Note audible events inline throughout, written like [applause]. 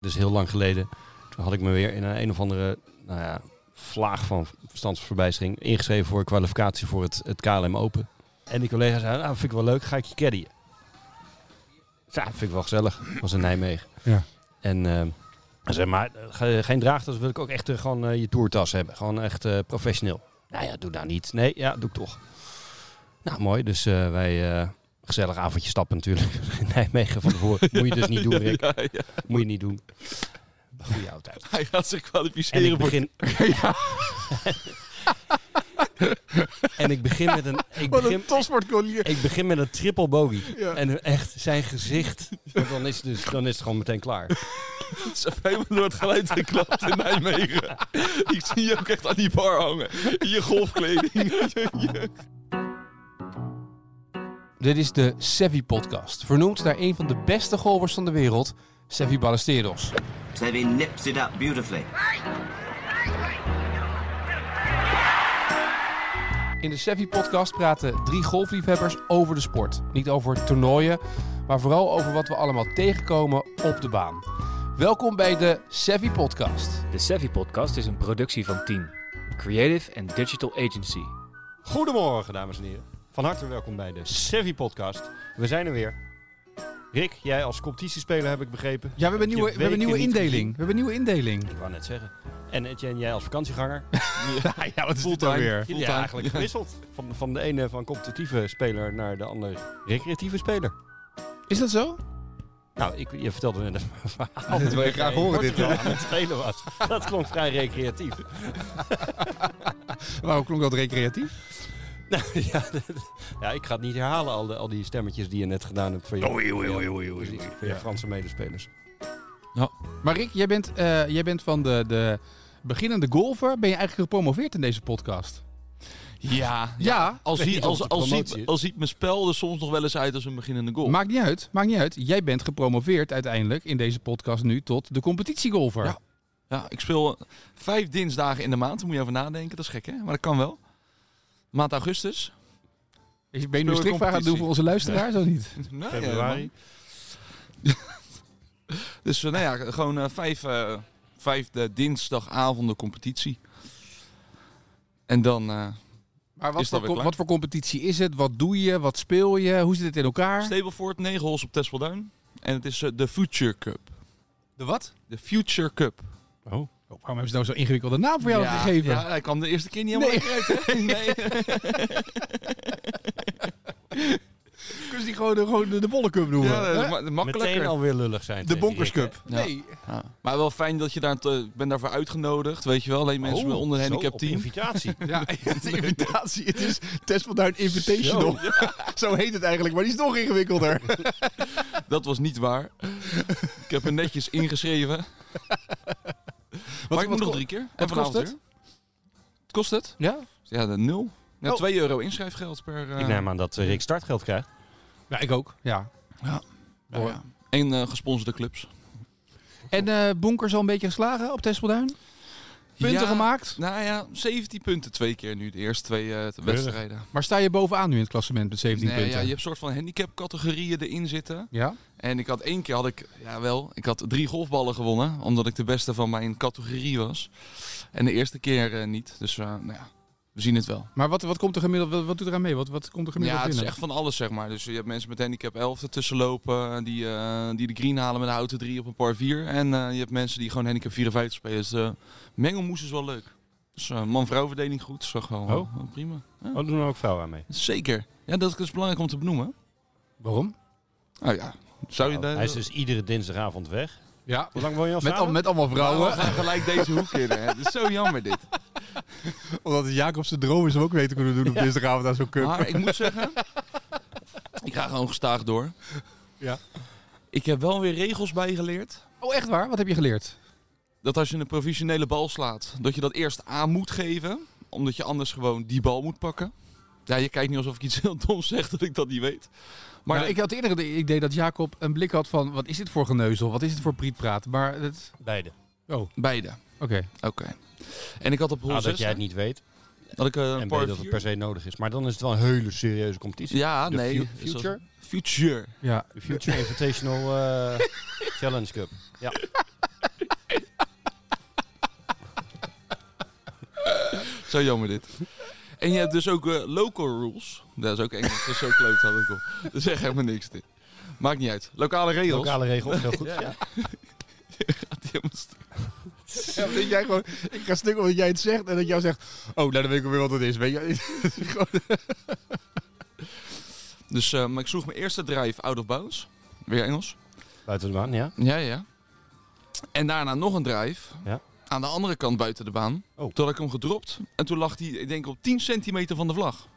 Dus heel lang geleden. Toen had ik me weer in een, een of andere nou ja, vlaag van verstandsverbijstering ingeschreven voor kwalificatie voor het, het KLM Open. En die collega zei, nou vind ik wel leuk, ga ik je caddyen. Ja, vind ik wel gezellig. was in Nijmegen. Ja. En ehm, hij zei, maar eh, ge- geen draagtas wil ik ook echt eh, gewoon eh, je toertas hebben. Gewoon echt eh, professioneel. Nou ja, doe daar niet. Nee, ja, doe ik toch. Nou, mooi. Dus eh, wij... eh, gezellig avondje stappen natuurlijk. [laughs] In Nijmegen van tevoren. Moet je dus niet doen, [laughs] Rick. Ja, ja. Moet je niet doen. Goeie oude tijd. Hij gaat zich En ik kwalificeren voor... begin... en ik begin met een... Ik [laughs] Wat begin, een topsportcollier. ik begin met een triple bogey. Ja. En echt zijn gezicht. Want dan is, het dus, dan is het gewoon meteen klaar. Ze hebben helemaal door het geluid geklapt in Nijmegen. Ik zie je ook echt aan die bar hangen. In je golfkleding. Dit is de Sevi Podcast, vernoemd naar een van de beste golfers van de wereld, Sevi Ballesteros. Seve nips it up beautifully. In de Sevi Podcast praten drie golfliefhebbers over de sport. Niet over toernooien, maar vooral over wat we allemaal tegenkomen op de baan. Welkom bij de Sevi Podcast. De Savvy Podcast is een productie van Team, Creative and Digital Agency. Goedemorgen, dames en heren. Van harte welkom bij de Sevi Podcast. We zijn er weer. Rick, jij als competitiespeler heb ik begrepen. Ja, we hebben je nieuwe, we hebben weken nieuwe niet indeling. gezien. We hebben nieuwe indeling. Ik wou net zeggen. En Etienne, jij als vakantieganger. [laughs] Ja, wat voelt Fulltime. weer? Ja, eigenlijk gewisseld. Van, van de ene van competitieve speler naar de andere recreatieve speler. Is dat zo? Nou, ik, je vertelde net een verhaal. Dit wil Oh, Dat jij je graag in horen, dit, Portugal aan het spelen was. Dat klonk vrij recreatief. Waarom klonk dat recreatief? [laughs] Nou, ja, dat- ja, ik ga het niet herhalen, al, de, al die stemmetjes die je net gedaan hebt voor je, precies, voor je Franse medespelers. Maar Rick, jij bent, eh, jij bent van de, de beginnende golfer. Ben je eigenlijk gepromoveerd in deze podcast? Ja. Ja, Al, weet zie, niet of als, het als, promotie ziet, is. als ziet mijn spel er soms nog wel eens uit als een beginnende goal. maakt niet uit. Maakt niet uit. Jij bent gepromoveerd uiteindelijk in deze podcast nu tot de competitiegolfer. Ja. Ja, ik speel eh, vijf dinsdagen in de maand. Daar moet je over nadenken. Dat is gek, hè? Maar dat kan wel. Maand augustus. Is- Ben je nu Speel een je strikvraag aan het competitie? doen voor onze luisteraars of niet? Nou, ja, Februari. man. dus eh, nou ja, gewoon eh, vijf, eh, vijf eh, dinsdagavonden competitie. En dan eh, [laughs] Maar wat, Is dat voor, weer co- klaar? wat voor competitie is het? Wat doe je? Wat speel je? Hoe zit het in elkaar? Stableford, negen holes op Tespelduin. En het is eh, de Future Cup. De wat? De Future Cup. Oh. Oh, waarom hebben ze nou zo'n ingewikkelde naam voor jou ja, gegeven? Ja, hij kwam de eerste keer niet helemaal lekker uit. hè? Nee. Kunnen ze die gewoon, de- gewoon de, de Bollencup noemen? Ja, dat Hè? is ma- makkelijker. Meteen alweer lullig zijn. de tegen Bonkers Rick, hè? Cup. Ja. Nee. Ja. Maar wel fijn dat je daar... Ik ben daarvoor uitgenodigd, weet je wel. Alleen mensen Oh, onder een zo, handicap op team. [laughs] invitatie. [laughs] Ja, de invitatie. Het is Test van Duin [laughs] Invitational. Zo. heet het eigenlijk, maar die is nog ingewikkelder. Dat was niet waar. ik heb er netjes ingeschreven. maar ik wat moet nog ko- drie keer. wat kost vanavond het? weer. Wat kost het? Ja? Ja, de nul. Ja, Oh. 2 euro inschrijfgeld per... eh, Ik neem aan dat eh, Rick startgeld krijgt. Ja, ik ook. Ja. nou ja. En eh, gesponsorde clubs. En eh Bonkers al een beetje geslagen op Test van Duin? Punten Ja, gemaakt? Nou ja, 17 punten twee keer nu. De eerste twee eh, wedstrijden. Maar sta je bovenaan nu in het klassement met 17 Nee, punten? ja, je hebt soort van handicapcategorieën erin zitten. Ja? En ik had één keer, had ik, ja wel, ik had drie golfballen gewonnen. Omdat ik de beste van mijn categorie was. En de eerste keer eh, niet. Dus eh, nou ja, we zien het wel. Maar wat, wat komt er gemiddeld, wat, wat doet eraan mee? Wat, wat komt er gemiddeld Ja, het is binnen? echt van alles, zeg maar. Dus je hebt mensen met handicap 11 ertussen lopen, die, eh, die de green halen met een houten 3 op een par 4. En eh, je hebt mensen die gewoon handicap 54 spelen. Dus eh mengelmoes is wel leuk. Dus eh, man-vrouw verdeling goed, is toch wel Oh. wel prima. Oh, doen er ook vrouwen aan mee. Zeker. Ja, dat is belangrijk om te benoemen. Waarom? Oh ja, zou je Oh, daar... hij is dus iedere dinsdagavond weg. Ja. Hoe lang woon je al Met, al, samen? met allemaal Nou, we vrouwen. gaan gelijk deze hoek in. Hè. Het is zo jammer dit. [laughs] Omdat het Jacob zijn droom is om ook mee te kunnen doen op dinsdagavond aan zo'n cup. [laughs] Maar ik moet zeggen, ik ga gewoon gestaag door. Ja. Ik heb wel weer regels bijgeleerd. Oh, echt waar? Wat heb je geleerd? Dat als je een provisionele bal slaat, dat je dat eerst aan moet geven. Omdat je anders gewoon die bal moet pakken. Ja, je kijkt niet alsof ik iets heel doms zeg dat ik dat niet weet. Maar Maar ik had eerder het idee dat Jacob een blik had van... wat is dit voor geneuzel? Wat is dit voor prietpraat? Maar het... Beide. beide. Oké. Oké. En ik had op hol Nou, dat 6 jij het niet weet. had ik eh, een En par weet dat het vier. per se nodig is. Maar dan is het wel een hele serieuze competitie. Ja, De nee. fu- future? Future. Ja. [laughs] De Future Invitational eh, Challenge Cup. Ja. Zo jammer dit. En je hebt dus ook eh, local rules. Dat is ook Engels, dat is zo kloot had ik op. Dat zegt helemaal niks dit. Maakt niet uit. Lokale regels. [laughs] Lokale regels, heel [laughs] goed. ja. Gaat helemaal stuk. Ja, maar dat jij gewoon, ik ga stuk omdat jij het zegt en dat jou zegt, oh, nou dan weet ik weer wat het is. Weet je? Dus eh, maar ik sloeg mijn eerste drive out of bounds. Weer Engels. Buiten de baan, ja. Ja, ja. En daarna nog een drive. Ja. Aan de andere kant buiten de baan. Oh. Toen had ik hem gedropt. En toen lag hij, ik denk, op 10 centimeter van de vlag.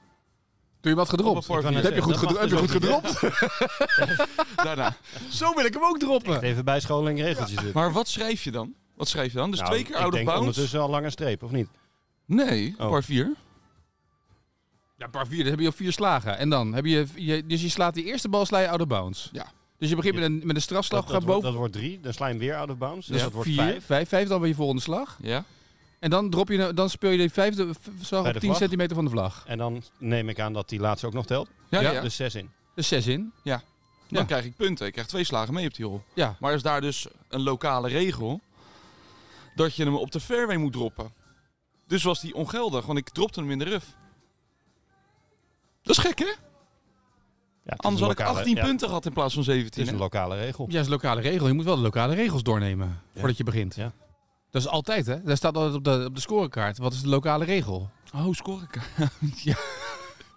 Toen je wat Op een gedropt. par wou net vier. Heb je goed, Dat mag gedro- heb je goed dus ook gedropt? [laughs] Daarna. Zo wil ik hem ook droppen. Even bijscholing regeltjes. dit. Maar wat schrijf je dan? Wat schrijf je dan? Dus Nou, twee keer ik out of denk bounds? ondertussen al lange streep, of niet? Nee, Oh. par 4. Ja, paar vier, dan heb je al vier slagen. En dan heb je, je dus je slaat die eerste bal, sla je out of bounds. Ja. Dus je begint met een, met een strafslag, Dat, dat, gaat wordt, boven. dat wordt drie, dan sla je hem weer out of bounds. Dus Dus dat wordt vier, vijf. vijf, dan ben je volgende slag. Ja. En dan, drop je, nou, dan speel je de vijfde v- slag Bij op de 10 vlag. centimeter van de vlag. En dan neem ik aan dat die laatste ook nog telt. Ja, ja, Ja, Dus zes in. Dus zes in. Dan ja. krijg ik punten. Ik krijg twee slagen mee op die hol. Ja. Maar is daar dus een lokale regel dat je hem op de fairway moet droppen. Dus was die ongeldig, want ik dropte hem in de ruf. Dat is gek, hè? Ja, het is Anders een had ik lokale- 18 ja, punten gehad in plaats van Het is 17. een hè? lokale regel. Ja, is lokale regel. Je moet wel de lokale regels doornemen voordat je begint. Ja. Dat is altijd, hè? Daar staat altijd op de, op de scorekaart. Wat is de lokale regel? Oh, scorekaart.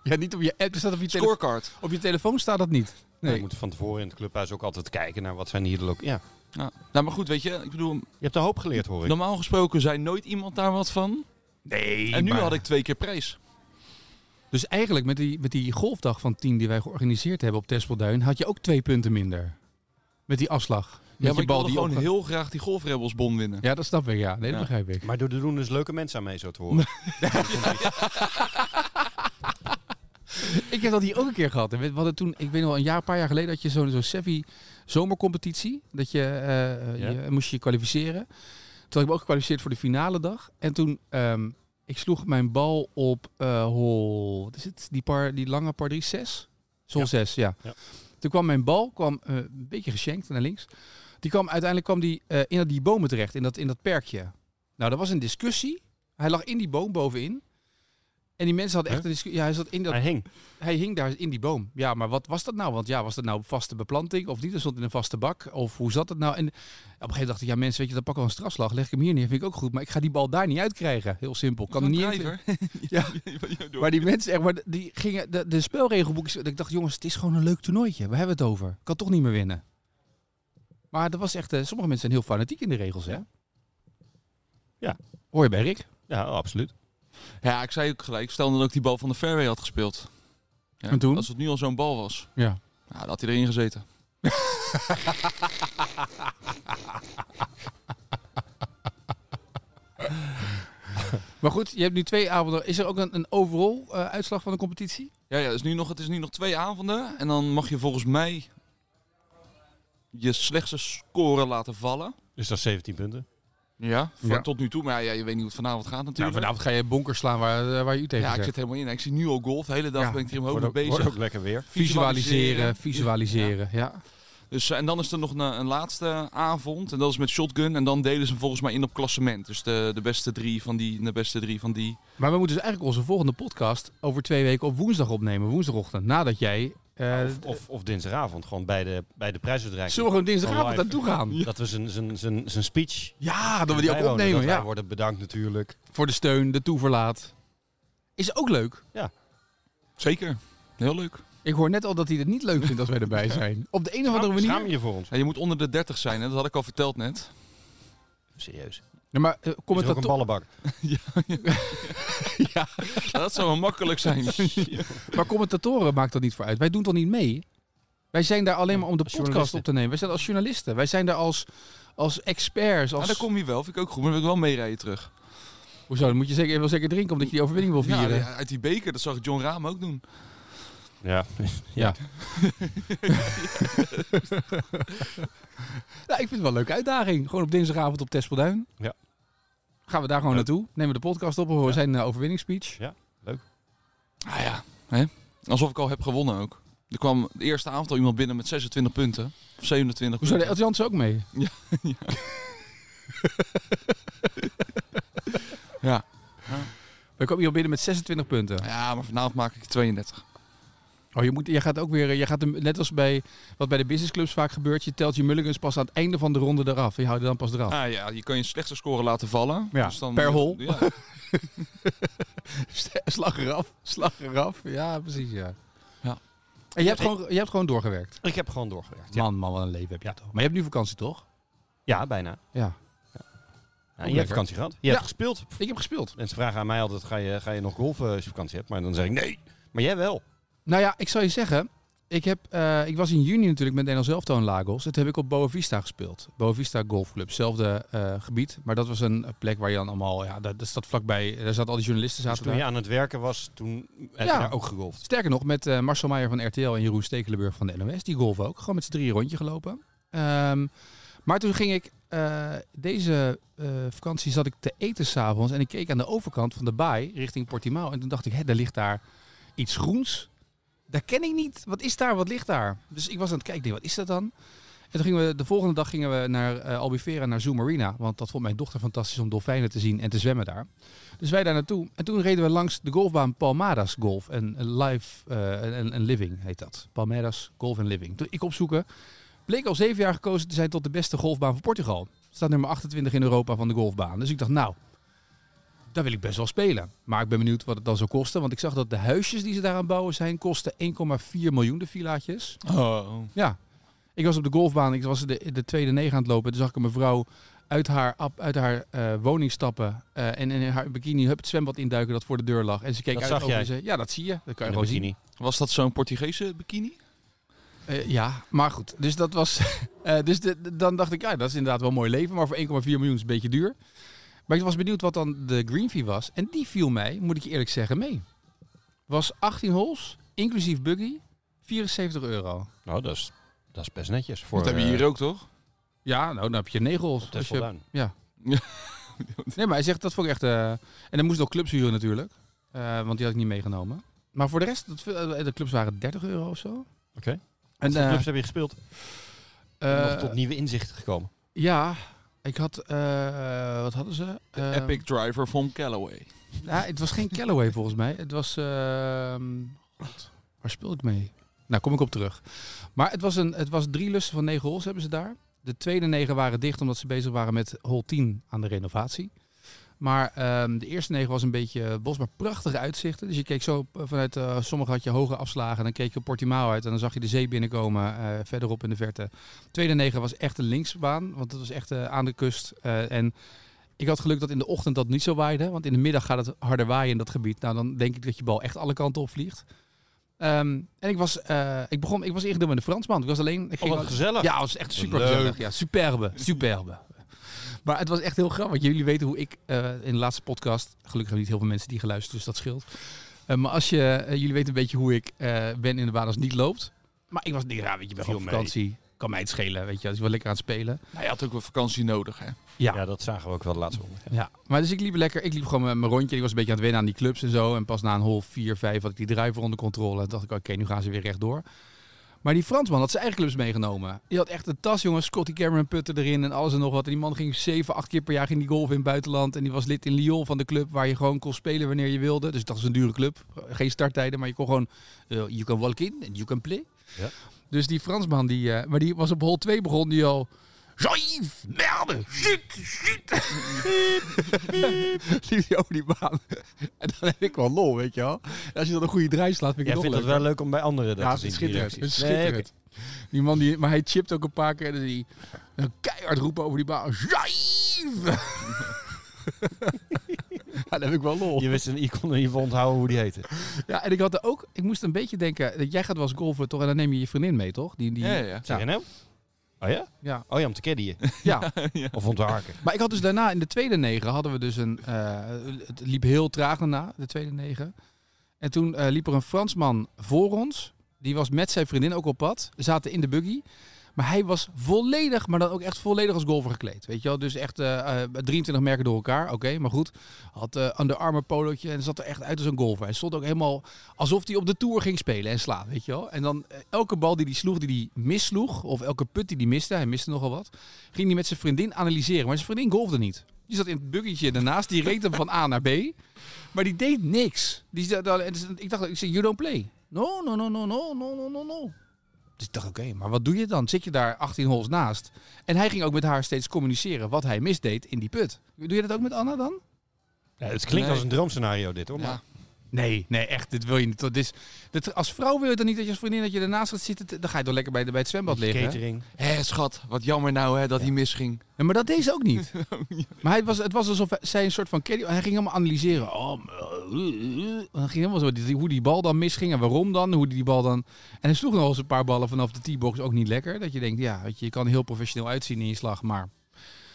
Ja, niet op je app. Er staat op je, tele- Scorecard. op je telefoon staat dat niet. We Nee. moeten van tevoren in het clubhuis ook altijd kijken naar wat zijn hier de lokaal. Ja. Ja. Nou, maar goed, weet je, ik bedoel, Je hebt een hoop geleerd, hoor ik. normaal gesproken zei nooit iemand daar wat van. Nee. En nu had ik twee keer prijs. Dus eigenlijk met die, met die golfdag van 10 die wij georganiseerd hebben op Tespelduin, had je ook twee punten minder. Met die afslag. Met Ja, maar je ik wilde gewoon opga- heel graag die golfrebelsbon winnen. Ja, dat snap ik, ja. Nee, dat Ja. begrijp ik. Maar er doen dus leuke mensen aan mee, zo te horen. [laughs] Ik heb dat hier ook een keer gehad. En weet- We hadden toen, ik weet nog wel, een jaar, een paar jaar geleden had je zo'n zo'n Sevi zomercompetitie. Dat je, eh, Ja. je moest je kwalificeren. Toen had ik me ook gekwalificeerd voor de finale dag. En toen, ehm, ik sloeg mijn bal op eh, hol, wat is het? Die, par, die lange par 3, 6? Hol Ja. 6, ja. Ja. Toen kwam mijn bal, kwam eh, een beetje geschenkt naar links. Die kwam uiteindelijk kwam die, eh, in die bomen terecht, in dat, in dat perkje. Nou, er was een discussie. Hij lag in die boom bovenin. En die mensen hadden echt een discussie. Ja, hij zat in dat Hij hing. hij hing daar in die boom. Ja, maar wat was dat nou? Want ja, was dat nou vaste beplanting of niet? Er stond in een vaste bak. Of hoe zat dat nou? En op een gegeven moment dacht ik, ja mensen, weet je, dan pak ik wel een strafslag. Leg ik hem hier neer, vind ik ook goed. Maar ik ga die bal daar niet uitkrijgen. Heel simpel. Kan er niet in- Ja. [laughs] Maar die mensen, echt, maar die gingen, de, de spelregelboekjes. Ik dacht, jongens, het is gewoon een leuk toernooitje. We hebben het over. Kan toch niet meer winnen. Maar dat was echt, eh, sommige mensen zijn heel fanatiek in de regels, hè? Ja. Hoor je bij Rick? Ja, oh, absoluut. Ja, ik zei ook gelijk, stel dat ik die bal van de fairway had gespeeld. Ja, En toen? Als het nu al zo'n bal was. Ja. Nou, dan had hij erin gezeten. Maar goed, je hebt nu twee avonden. Is er ook een, een overall eh, uitslag van de competitie? Ja, ja het, is nu nog, het is nu nog twee avonden. En dan mag je volgens mij je slechtste score laten vallen. Dus dat is 17 punten. Ja. Van Ja. Tot nu toe. Maar ja, je weet niet hoe het vanavond gaat Nou, natuurlijk. vanavond ga je bonkers slaan waar, waar je u tegen ja, ik zit. zit helemaal in. Ik zie nu al golf. De hele dag Ja, ben ik er in mijn hoofd Wordt mee ook, bezig. wordt ook lekker weer. Visualiseren, visualiseren, ja. Dus, eh, en dan is er nog een, een laatste avond. En dat is met shotgun. En dan delen ze hem volgens mij in op klassement. Dus de, de beste drie van die en de beste drie van die. Maar we moeten dus eigenlijk onze volgende podcast over twee weken op woensdag opnemen. Woensdagochtend, nadat jij... eh Of, of, of dinsdagavond, gewoon bij de, bij de prijsuitreiking. zullen we gewoon dinsdagavond Live. naartoe gaan? Dat we zijn- zijn- zijn zijn speech Ja, dat we die ook bijwonen. opnemen, Dat wij ja. worden bedankt natuurlijk. Voor de steun, de toeverlaat. Is ook leuk. Zeker. Heel leuk. Ik hoor net al dat hij het niet leuk vindt als wij erbij [laughs] zijn. Op de een of andere Schaam, Oh, schaam manier... je voor ons. Ja, je moet onder de 30 zijn, hè? dat had ik al verteld net. Serieus. Ja, maar eh, Is er ook commentator- een ballenbak. Ja, dat zou wel makkelijk [laughs] zijn. maar commentatoren maakt dat niet voor uit. Wij doen toch niet mee? Wij zijn daar alleen maar om de podcast journalisten. op te nemen. Wij zijn als journalisten. Wij zijn daar als, als experts. Maar Als... dan kom je wel, vind ik ook goed, maar dan wil ik wel meerijden terug. Hoezo? Dan moet je zeker, wel zeker drinken omdat je die overwinning wil vieren. Ja, uit die beker, dat zag John Raam ook doen. Ja. Nou, ik vind het wel een leuke uitdaging. Gewoon op dinsdagavond op Tespelduin. Ja. Gaan we daar gewoon Leuk. naartoe. Nemen we de podcast op. We horen zijn eh, overwinningsspeech. Ah ja, hè? alsof ik al heb gewonnen ook. Er kwam de eerste avond al iemand binnen met 26 punten. Of 27 Hoezo? De punten. Elt Jansen ook mee? Ja. We kwam je al binnen met 26 punten. Ja, maar vanavond maak ik 32. Oh, je, moet, je gaat ook weer, je gaat hem, net als bij wat bij de businessclubs vaak gebeurt, je telt je mulligans pas aan het einde van de ronde eraf. Je houdt er dan pas eraf. Ah ja, je kan je slechte score laten vallen. Oh. Dus Ja, dan per moet je- Ja, [laughs] Slag eraf, slag eraf. Ja, precies, ja. Ja. En je hebt, gewoon, je hebt gewoon doorgewerkt. Ik heb gewoon doorgewerkt. Ja, Man, man, wat een leven heb je toch. Maar je hebt nu vakantie, toch? ja bijna. Ja. Ja, en je hebt vakantie gehad. Je hebt gespeeld. Ik heb gespeeld. Mensen vragen aan mij altijd, ga je, ga je nog golven als je vakantie hebt? Maar dan zeg ik, nee. Maar jij wel. Nou ja, ik zal je zeggen. Ik, heb, eh, ik was in juni natuurlijk met Nederlands Elftal in Lagos. Dat heb ik op Boa Vista gespeeld. Boa Vista Golf Club. Hetzelfde eh, gebied. Maar dat was een plek waar je dan allemaal... Ja, dat, dat staat vlakbij. Daar zaten al die journalisten. Dus Zaten toen daar. je aan het werken was, toen heb Ja. je daar ook gegolfd. Sterker nog, met eh, Marcel Meijer van RTL en Jeroen Stekelenburg van de NOS. Die golven ook. Gewoon met z'n drieën rondje gelopen. Ehm, maar toen ging ik... eh, deze eh, vakantie zat ik te eten s'avonds. En ik keek aan de overkant van de baai richting Portimao. En toen dacht ik, hé, daar ligt daar iets groens. Dat ken ik niet. Wat is daar? Wat ligt daar? Dus ik was aan het kijken, ik denk, wat is dat dan? En toen gingen we, de volgende dag gingen we naar eh, Albufeira, naar Zoo Marina. Want dat vond mijn dochter fantastisch om dolfijnen te zien en te zwemmen daar. Dus wij daar naartoe. En toen reden we langs de golfbaan Palmadas Golf en Live eh, en en Living heet dat. Palmadas Golf en Living. Toen ik opzoeken, bleek al zeven jaar gekozen te zijn tot de beste golfbaan van Portugal. Staat nummer 28 in Europa van de golfbaan. Dus ik dacht, nou, daar wil ik best wel spelen. Maar ik ben benieuwd wat het dan zou kosten. Want ik zag dat de huisjes die ze daaraan bouwen zijn, kosten 1,4 miljoen de villaatjes. Oh. Ja. Ik was op de golfbaan, ik was de, de tweede negen aan het lopen. Toen zag ik een mevrouw uit haar, ap- uit haar eh, woning stappen eh, en in haar bikini hup, het zwembad induiken dat voor de deur lag. En ze keek Dat uit zag over jij? en zei, ja, dat zie je. Dat kan je In de gewoon zien. bikini. Was dat zo'n Portugese bikini? Eh, ja, maar goed. Dus dat was. [laughs] eh, dus de- de- dan dacht ik, ja, dat is inderdaad wel een mooi leven. Maar voor 1,4 miljoen is een beetje duur. Maar ik was benieuwd wat dan de green fee was. En die viel mij, moet ik je eerlijk zeggen, mee. Was 18 holes, inclusief buggy, 74 euro. Nou, dat is, dat is best netjes. Voor, Dat hebben we eh, hier ook, toch? Ja, nou, dan heb je 9 holes. Als Tessel je, Duin. nee, maar hij zegt, dat vond ik echt... eh, en dan moest ik ook clubs huren natuurlijk. Eh, want die had ik niet meegenomen. Maar voor de rest, dat, eh, de clubs waren 30 euro of zo. Oké. En, Wat voor eh, clubs heb je gespeeld? eh, Nog tot nieuwe inzichten gekomen. Ja, ik had... eh, wat hadden ze? Eh, Epic Driver van Callaway. Ja, het was geen Callaway volgens mij. Het was. ehm, God, waar speelde ik mee? Nou, kom ik op terug. Maar het was, een, het was drie lussen van negen holes hebben ze daar. De tweede negen waren dicht omdat ze bezig waren met hole 10 aan de renovatie. Maar ehm, de eerste negen was een beetje eh, bos, maar prachtige uitzichten. Dus je keek zo op- vanuit, eh sommige had je hoge afslagen. En dan keek je op Portimao uit en dan zag je de zee binnenkomen eh, verderop in de verte. Tweede negen was echt een linksbaan, want het was echt eh, aan de kust. eh, en ik had geluk dat in de ochtend dat niet zo waaide. Want in de middag gaat het harder waaien in dat gebied. Nou, dan denk ik dat je bal echt alle kanten op vliegt. Ehm, en ik was, eh, ik begon, ik was ingedeeld met een Fransman. Ik was alleen. Ik Oh, ging wat gezellig. ja, het was echt super gezellig. Ja, superbe, superbe. Maar het was echt heel grappig. want Jullie weten hoe ik eh, in de laatste podcast. Gelukkig hebben niet heel veel mensen die geluisterd, dus dat scheelt. Eh, maar als je, eh, jullie weten een beetje hoe ik eh, ben in de baan als het niet loopt. Maar ik was niet raar, weet je, ik ben Viel op mee. vakantie. Kan mij het schelen, weet je, als ik wel lekker aan het spelen. Hij had ook wel vakantie nodig, hè? Ja. dat zagen we ook wel de laatste ronde. Ja, maar dus ik liep lekker. Ik liep gewoon met mijn rondje. Ik was een beetje aan het wennen aan die clubs en zo. En pas na een hol 4, 5 had ik die driver onder controle. En dacht ik, oké, nu gaan ze weer rechtdoor. Maar die Fransman had zijn eigen clubs meegenomen. Die had echt een tas, jongens. Scotty Cameron putten erin en alles en nog wat. En die man ging 7, 8 keer per jaar ging die golf in het buitenland. En die was lid in Lyon van de club waar je gewoon kon spelen wanneer je wilde. Dus dat is een dure club. Geen starttijden, maar je kon gewoon... eh, you can walk in and you can play. Ja. Dus die Fransman, die, eh, maar die was op hol 2 begon die al... Joyf, merde, shit, shit. [laughs] Liep die over die baan. En dan heb ik wel lol, weet je wel. En als je dan een goede draai slaat, vind ik Jij het nog vindt het leuker. wel leuk om bij anderen dat Ja, te het zien. is die schitterend. Het is reacties. schitterend. Nee, oké. Die man die, maar hij chipt ook een paar keer en dan die een keihard roepen over die baan. Jive! [laughs] ja, dan heb ik wel lol. Je wist een, je kon in ieder geval onthouden hoe die heette. Ja, en ik had er ook, ik moest een beetje denken, dat jij gaat wel eens golfen toch en dan neem je je vriendin mee toch? Die, die, Ja, ja, ja. Zeg je nou? Oh ja? Ja. Oh ja, om te caddyen. ja. Of om te harken. Maar ik had dus daarna in de tweede negen hadden we dus een. eh, het liep heel traag daarna, de tweede negen. En toen eh, liep er een Fransman voor ons. Die was met zijn vriendin ook op pad. We zaten in de buggy. Maar hij was volledig, maar dan ook echt volledig als golfer gekleed. Weet je wel, dus echt eh, eh, 23 merken door elkaar. Oké, maar goed. Had eh Under Armour polootje en zat er echt uit als een golfer. Hij stond ook helemaal alsof hij op de tour ging spelen en slaan, weet je wel. En dan eh, elke bal die hij sloeg, die hij missloeg, of elke put die hij miste, hij miste nogal wat, ging hij met zijn vriendin analyseren. Maar zijn vriendin golfde niet. Die zat in het buggetje daarnaast. Die reed hem van A naar B. Maar die deed niks. Die, zei dan- en ik dacht, ik zei, you don't play. No, no, no, no, no, no, no, no, no. Dus ik dacht, oké, maar wat doe je dan? Zit je daar 18 holes naast? En hij ging ook met haar steeds communiceren wat hij misdeed in die put. Doe je dat ook met Anna dan? Ja, het klinkt Nee. als een droomscenario dit hoor. Ja. Maar Nee, nee, echt, dit wil je niet. Dat is, dit, als vrouw wil je dan niet dat je als vriendin dat je ernaast gaat zitten. te- Dan ga je toch lekker bij, de- bij het zwembad liggen. hè? catering. Hé, schat, wat jammer nou hè, dat hij misging. Ja, maar dat deed ze ook [laughs] niet. Maar hij was, het was alsof hij- zij een soort van caddy... Hij ging helemaal analyseren. Oh, eh, eh, eh. hij ging helemaal zo, die- hoe die bal dan misging en waarom dan. Hoe die bal dan... En hij sloeg nog eens een paar ballen vanaf de T-box ook niet lekker. Dat je denkt, ja, weet je, je kan heel professioneel uitzien in je slag. Maar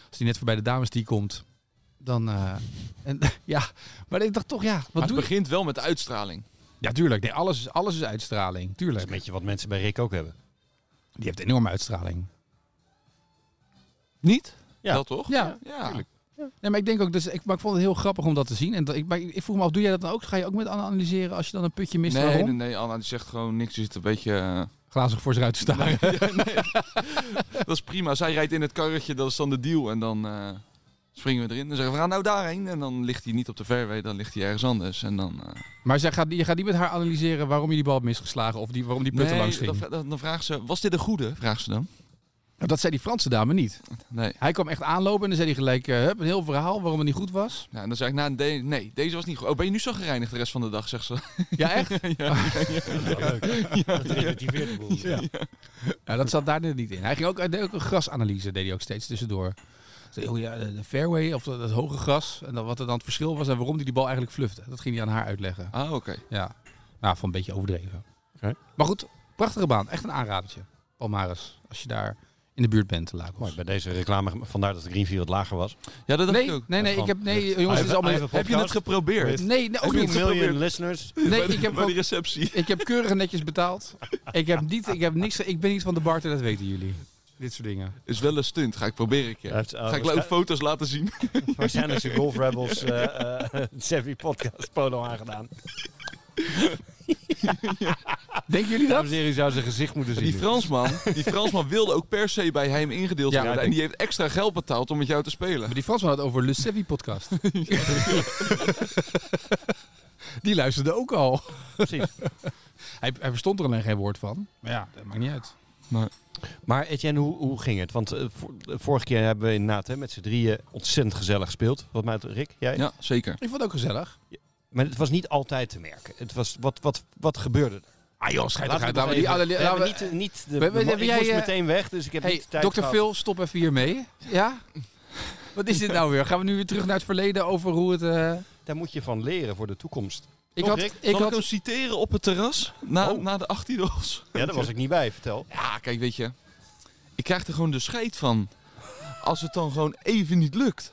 als die net voorbij de dames die komt, dan... eh, en, [laughs] ja, maar ik dacht toch, ja, Maar wat het doe je? begint wel met de uitstraling. Ja, tuurlijk. Nee, alles, is- alles is uitstraling. Dat is Tuurlijk. een beetje wat mensen bij Rick ook hebben. Die heeft enorme uitstraling. Niet? Ja. Wel toch? Ja, tuurlijk. Nee, maar ik denk ook, dus, ik, maar ik vond het heel grappig om dat te zien. En dat, ik, maar ik ik vroeg me af, doe jij dat dan ook? Ga je ook met Anna analyseren als je dan een putje mist? Nee, waarom? nee, nee, Anna die zegt gewoon niks. Die zit een beetje... eh, [laughs] Glazig voor zich uit te staan. dat is prima. Zij rijdt in het karretje, dat is dan de deal. En dan eh, springen we erin. Dan zeggen we, we gaan nou daarheen. En dan ligt hij niet op de fairway, dan ligt hij ergens anders. En dan... eh, [laughs] Maar zij gaat, je gaat niet met haar analyseren waarom je die bal hebt misgeslagen of die, waarom die put er nee, langs ging. dan, Nou, vra- dan, dan vraagt ze, was dit een goede? Vraagt ze dan. Dat, zei die Franse dame niet. Nee. Hij kwam echt aanlopen en dan zei hij gelijk eh, hup, een heel verhaal waarom het niet goed was. Ja, en dan zeg ik, nou, de- nee, deze was niet goed. Oh, ben je nu zo gereinigd de rest van de dag, zegt ze. [laughs] [laughs] Ja, [laughs] echt? Dat relativeert de boel. Ja, Nou, dat zat daar net niet in. Hij ging ook, hij deed ook een grasanalyse, deed hij ook steeds tussendoor. Zei, oh ja, de de fairway of dat, dat hoge gras en dan, wat er dan het verschil was en waarom hij die bal eigenlijk flufte. Dat ging hij aan haar uitleggen. Ah, oké. Ja, nou, van een beetje overdreven. Oké. Maar goed, prachtige baan. Echt een aanradertje. Palmares, als je daar in de buurt bent, de Mooi, Lagos. bij deze reclame, vandaar dat de greenfield wat lager was. Ja, dat dacht Nee, ik ook. nee, nee, ik heb, nee, jongens, het is Even- allemaal... even Heb je het podcast. geprobeerd? Weet- Nee, nee, ook Ook niet. million listeners. Nee, ik heb, Bij de gewoon- receptie. ik heb keurig en netjes betaald. Ik heb niet, ik heb niks, ik ben niet van de barter, dat weten jullie. Dit soort dingen. Is wel een stunt, ga ik proberen een keer. Hij heeft, uh, ah, Ga ik ook waarschijn- foto's laten zien. Waarschijnlijk zijn Golf [laughs] Rebels eh eh, [laughs] Savvy Podcast polo aangedaan. Denken jullie dat? Dames en heren, u zou zijn gezicht moeten zien. Die nu. Fransman, [laughs] die Fransman wilde ook per se bij hem ingedeeld Ja, worden. ik En die heeft extra geld betaald om met jou te spelen. Maar die Fransman had het over Le Sevi [laughs] podcast. die luisterde ook al. Precies. Hij, hij verstond er alleen geen woord van. Maar ja, dat maakt niet uit. Maar Etienne, hoe, hoe ging het? Want eh, vo- de vorige keer hebben we inderdaad hè, met z'n drieën ontzettend gezellig gespeeld. Wat mij betreft, Rick, jij? Ja, zeker. Ik vond het ook gezellig. Maar het was niet altijd te merken. Het was, wat, wat, wat gebeurde er? Ah joh, schijt Laten eruit. we Laten het even- we die alle- we laten hebben we- niet, niet de, we- we- de- hebben ik jij, moest eh, meteen weg, dus ik heb Hey, niet tijd dokter gehad. Phil, stop even hiermee. Ja? Wat is dit nou weer? Gaan we nu weer terug naar het verleden over hoe het... eh, Daar moet je van leren voor de toekomst. Ik Toch, had... Rick? Ik Zal ik had hem citeren op het terras? Na, Oh. na de 18 holes. Ja, daar was ik niet bij, vertel. Ja, kijk, weet je. Ik krijg er gewoon de scheid van. Als het dan gewoon even niet lukt.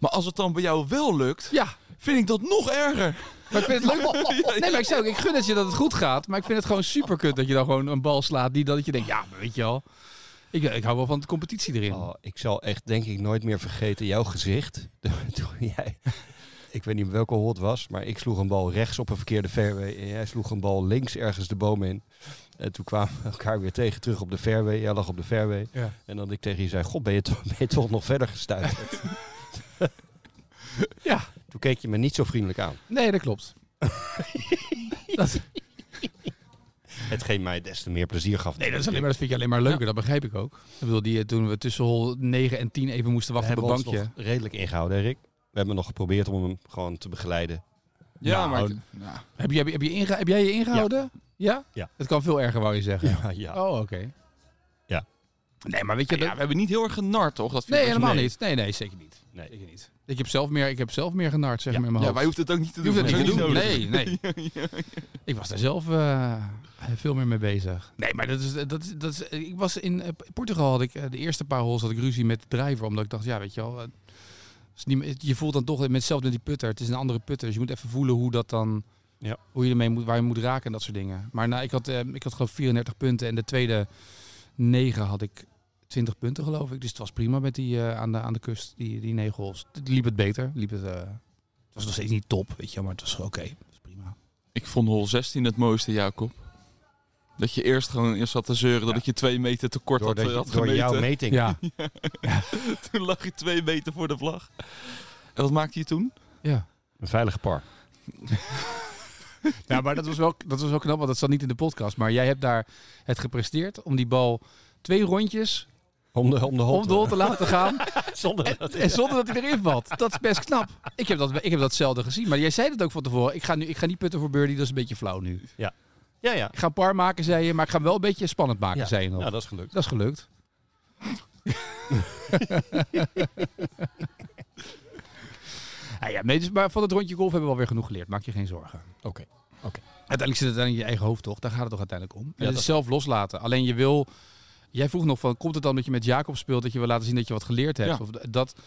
Maar als het dan bij jou wel lukt, ja, vind ik dat nog erger. maar ik vind [laughs] het leuk. Oh, Nee, maar ik zei ook, ik gun het je dat het goed gaat. Maar ik vind het gewoon super kut dat je dan gewoon een bal slaat. Die dat je denkt, ja, maar weet je wel. Ik, ik hou wel van de competitie erin. Oh, ik zal echt, denk ik, nooit meer vergeten jouw gezicht. [laughs] Toen jij, ik weet niet welke hol het was, maar ik sloeg een bal rechts op een verkeerde fairway. En jij sloeg een bal links ergens de boom in. En toen kwamen we elkaar weer tegen terug op de fairway. Jij lag op de fairway. Ja. En dan ik tegen je zei, god, ben je, toch- ben je toch nog verder [laughs] gestuurd? Ja. Toen keek je me niet zo vriendelijk aan. Nee, dat [laughs] klopt. dat, Hetgeen mij des te meer plezier gaf. nee, dat, is alleen maar, dat vind je alleen maar leuker. Dat begrijp ik ook. Ik bedoel, die, eh, toen we tussen hol 9 en 10 even moesten we wachten op hebben een ons bankje. nog redelijk ingehouden, hè, Rick. We hebben nog geprobeerd om hem gewoon te begeleiden. Ja, Nou, maar... Ja. Heb, je, heb, je, heb, je inge- heb jij je ingehouden? Ja. Ja. Het kan veel erger, wou je zeggen. Ja, ja. Oh, oké. Ja. Nee, maar weet je... Ja, dat- we hebben niet heel erg genard, toch? Dat vind nee, ik- helemaal nee. niet. Nee, nee, zeker niet. Nee. Zeker niet. Ik heb zelf meer, ik heb zelf meer genard, zeg maar, in mijn Ja, wij hoofd. hoeven het ook niet te Je doen. hoeft het niet Dat te is doen. nodig. Nee, nee. [laughs] Ik was daar zelf eh, veel meer mee bezig. Nee, maar dat is, eh, dat is, dat is, ik was in eh, Portugal, had ik eh, de eerste paar holes had ik ruzie met de driver. Omdat ik dacht, ja, weet je wel... eh, is niet, meer- je voelt dan toch met zelf met die putter. Het is een andere putter. Dus je moet even voelen hoe dat dan... Ja. Hoe je ermee moet, waar je moet raken en dat soort dingen. Maar nou, ik, had, eh, ik had geloof ik 34 punten. En de tweede 9 had ik 20 punten geloof ik. Dus het was prima met die eh, aan, de, aan de kust, die, die 9 holes. Het liep het beter. Liep het, eh, het was nog steeds niet top, weet je wel, Maar het was oké. Het was prima. Ik vond hol 16 het mooiste, Jacob. Dat je eerst gewoon eerst zat te zeuren dat ik je twee meter tekort Door, had, eh, dat, had je- door jouw gemeten. meting. Ja, [laughs] toen lag je twee meter voor de vlag. En wat maakte je toen? ja. Een veilige par. ja maar dat was, wel, dat was wel knap, want dat zat niet in de podcast. Maar jij hebt daar het gepresteerd om die bal twee rondjes Om de, om de hond. om de hol te laten [laughs] gaan. [laughs] Zonder dat. En zonder dat hij erin valt. Dat is best knap. Ik heb dat, ik heb dat zelden gezien. Maar jij zei het ook van tevoren. Ik ga, nu, ik ga niet putten voor Birdie, dat is een beetje flauw nu. Ja, ja. Ik ga een par maken, zei je. Maar ik ga hem wel een beetje spannend maken, Ja. zei je nog. Nou, dat is gelukt. Dat is [laughs] gelukt. ja, ja, nee, dus, maar van het rondje golf hebben we alweer genoeg geleerd. Maak je geen zorgen. Oké. Uiteindelijk zit het dan in je eigen hoofd, toch? Daar gaat het toch uiteindelijk om. En Ja, het is zelf loslaten. Alleen je wil... Jij vroeg nog van, komt het dan dat je met Jacob speelt... dat je wil laten zien dat je wat geleerd hebt? Ja. Of dat,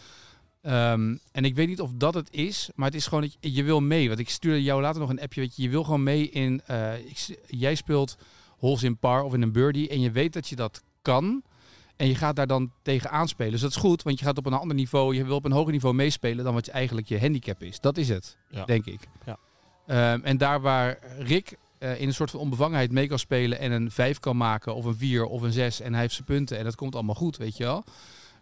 ehm, en ik weet niet of dat het is, maar het is gewoon... Dat je, je wil mee. Want ik stuurde jou later nog een appje. Weet je, je wil gewoon mee in... eh, ik s- jij speelt holes in par of in een birdie... en je weet dat je dat kan... En je gaat daar dan tegen aanspelen. Dus dat is goed, want je gaat op een ander niveau. Je wil op een hoger niveau meespelen dan wat je eigenlijk je handicap is. Dat is het, Ja. denk ik. Ja. Ehm, en daar waar Rick eh, in een soort van onbevangenheid mee kan spelen en een 5 kan maken, of een 4 of een 6. En hij heeft zijn punten en dat komt allemaal goed, weet je wel.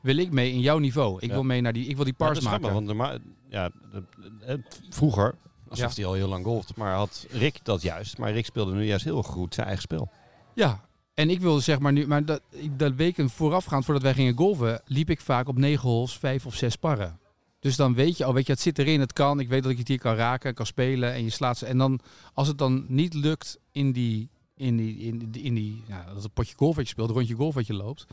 Wil ik mee in jouw niveau. Ik Ja. wil mee naar die. Ik wil die Ja, dat pars is grappig, maken. want normaal- ja, de- het- vroeger, alsof hij al heel lang golft, maar had Rick dat juist. Maar Rick speelde nu juist heel goed zijn eigen spel. Ja, en ik wilde zeg maar nu, maar dat, ik- dat weken voorafgaand voordat wij gingen golven, liep ik vaak op negen holes vijf of zes parren. Dus dan weet je, oh weet je, het zit erin, het kan. Ik weet dat ik het hier kan raken, kan spelen en je slaat ze. En dan, als het dan niet lukt in die, in die, in die, in die ja, dat potje golf wat je speelt, rondje golf wat je loopt,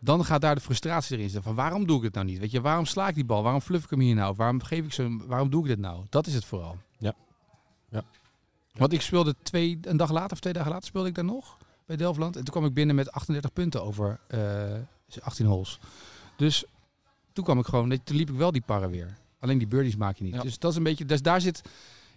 dan gaat daar de frustratie erin zitten. Van waarom doe ik het nou niet? Weet je, waarom sla ik die bal? Waarom fluff ik hem hier nou? Waarom geef ik ze? hem? Waarom doe ik dit nou? Dat is het vooral. Ja. Ja. Want ik speelde twee, een dag later of twee dagen later speelde ik daar nog bij Delftland. En toen kwam ik binnen met 38 punten over eh 18 holes. Dus toen kwam ik gewoon, nee, toen liep ik wel die parren weer. Alleen die birdies maak je niet. Ja. Dus dat is een beetje, dus daar zit, ik